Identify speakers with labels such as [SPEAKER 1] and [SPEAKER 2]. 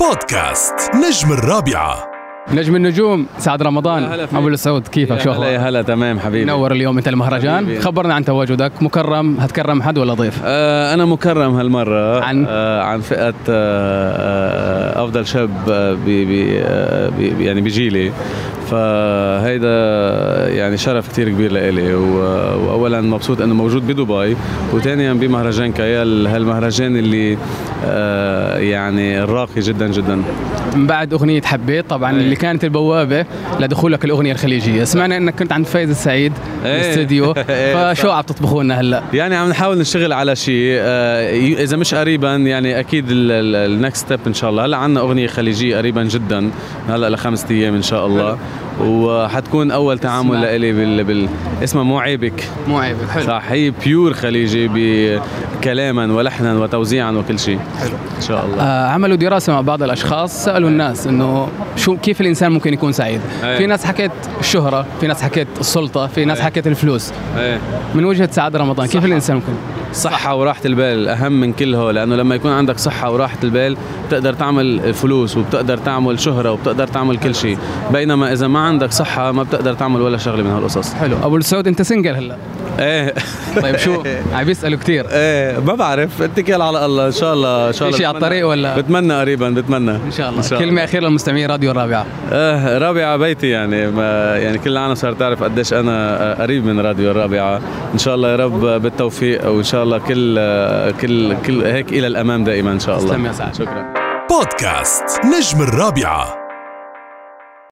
[SPEAKER 1] بودكاست نجم الرابعة
[SPEAKER 2] نجم النجوم سعد رمضان
[SPEAKER 3] يا هلا فيك.
[SPEAKER 2] ابو السعود كيفك شو
[SPEAKER 3] يا هلا
[SPEAKER 2] اخبارك؟
[SPEAKER 3] يا هلا تمام حبيبي
[SPEAKER 2] نور اليوم انت المهرجان
[SPEAKER 3] حبيبي.
[SPEAKER 2] خبرنا عن تواجدك مكرم هتكرم حد ولا ضيف
[SPEAKER 3] آه انا مكرم هالمره
[SPEAKER 2] عن؟
[SPEAKER 3] آه عن فئه آه آه افضل شاب آه بي بي آه بي بي- يعني بجيلي فهيدا يعني شرف كتير كبير لإلي و- واولا مبسوط انه موجود بدبي وثانيا بمهرجان كيال هالمهرجان اللي آه يعني راقي جدا جدا
[SPEAKER 2] من بعد اغنيه حبيت طبعا
[SPEAKER 3] إيه.
[SPEAKER 2] اللي كانت البوابه لدخولك الاغنيه الخليجيه سمعنا انك كنت عند فايز السعيد
[SPEAKER 3] إيه.
[SPEAKER 2] الاستديو
[SPEAKER 3] إيه،
[SPEAKER 2] فشو عم تطبخوا لنا هلا
[SPEAKER 3] يعني عم نحاول نشتغل على شيء آه، ي- اذا مش قريبا يعني اكيد النكست ستيب ان شاء الله هلا عندنا اغنيه خليجيه قريبا جدا هلا لخمس ايام ان شاء الله وحتكون اول تعامل
[SPEAKER 2] اسمها-
[SPEAKER 3] لإلي بال, بال... اسمها مو عيبك
[SPEAKER 2] مو عيب حلو
[SPEAKER 3] صح هي بيور خليجي بكلاما ولحنا وتوزيعا وكل شيء حلو ان شاء الله
[SPEAKER 2] آه، عملوا دراسة مع بعض الأشخاص سألوا الناس إنه شو كيف الإنسان ممكن يكون سعيد؟
[SPEAKER 3] إيه.
[SPEAKER 2] في ناس حكت الشهرة، في ناس حكت السلطة، في ناس
[SPEAKER 3] إيه.
[SPEAKER 2] حكت الفلوس،
[SPEAKER 3] ايه
[SPEAKER 2] من وجهة سعد رمضان كيف الإنسان ممكن؟
[SPEAKER 3] صحة وراحة البال أهم من كل هو لأنه لما يكون عندك صحة وراحة البال بتقدر تعمل فلوس وبتقدر تعمل شهرة وبتقدر تعمل كل شيء بينما إذا ما عندك صحة ما بتقدر تعمل ولا شغلة من هالقصص
[SPEAKER 2] حلو أبو السعود أنت سنجل هلا
[SPEAKER 3] إيه
[SPEAKER 2] طيب شو عم بيسالوا كثير
[SPEAKER 3] إيه ما بعرف اتكل على الله إن شاء الله إن شاء
[SPEAKER 2] في
[SPEAKER 3] الله
[SPEAKER 2] شي على
[SPEAKER 3] بتمنى-
[SPEAKER 2] الطريق ولا؟
[SPEAKER 3] بتمنى قريبا بتمنى
[SPEAKER 2] ان شاء الله كلمه اخيره للمستمعين راديو الرابعه
[SPEAKER 3] آه رابعة بيتي يعني ما يعني كل العالم صار تعرف قديش أنا آه، قريب من راديو الرابعة إن شاء الله يا رب آه، بالتوفيق وإن شاء الله كل آه، كل كل هيك إلى الأمام دائما إن شاء الله
[SPEAKER 2] تسلم يا سعد.
[SPEAKER 3] شكرا
[SPEAKER 1] بودكاست نجم الرابعه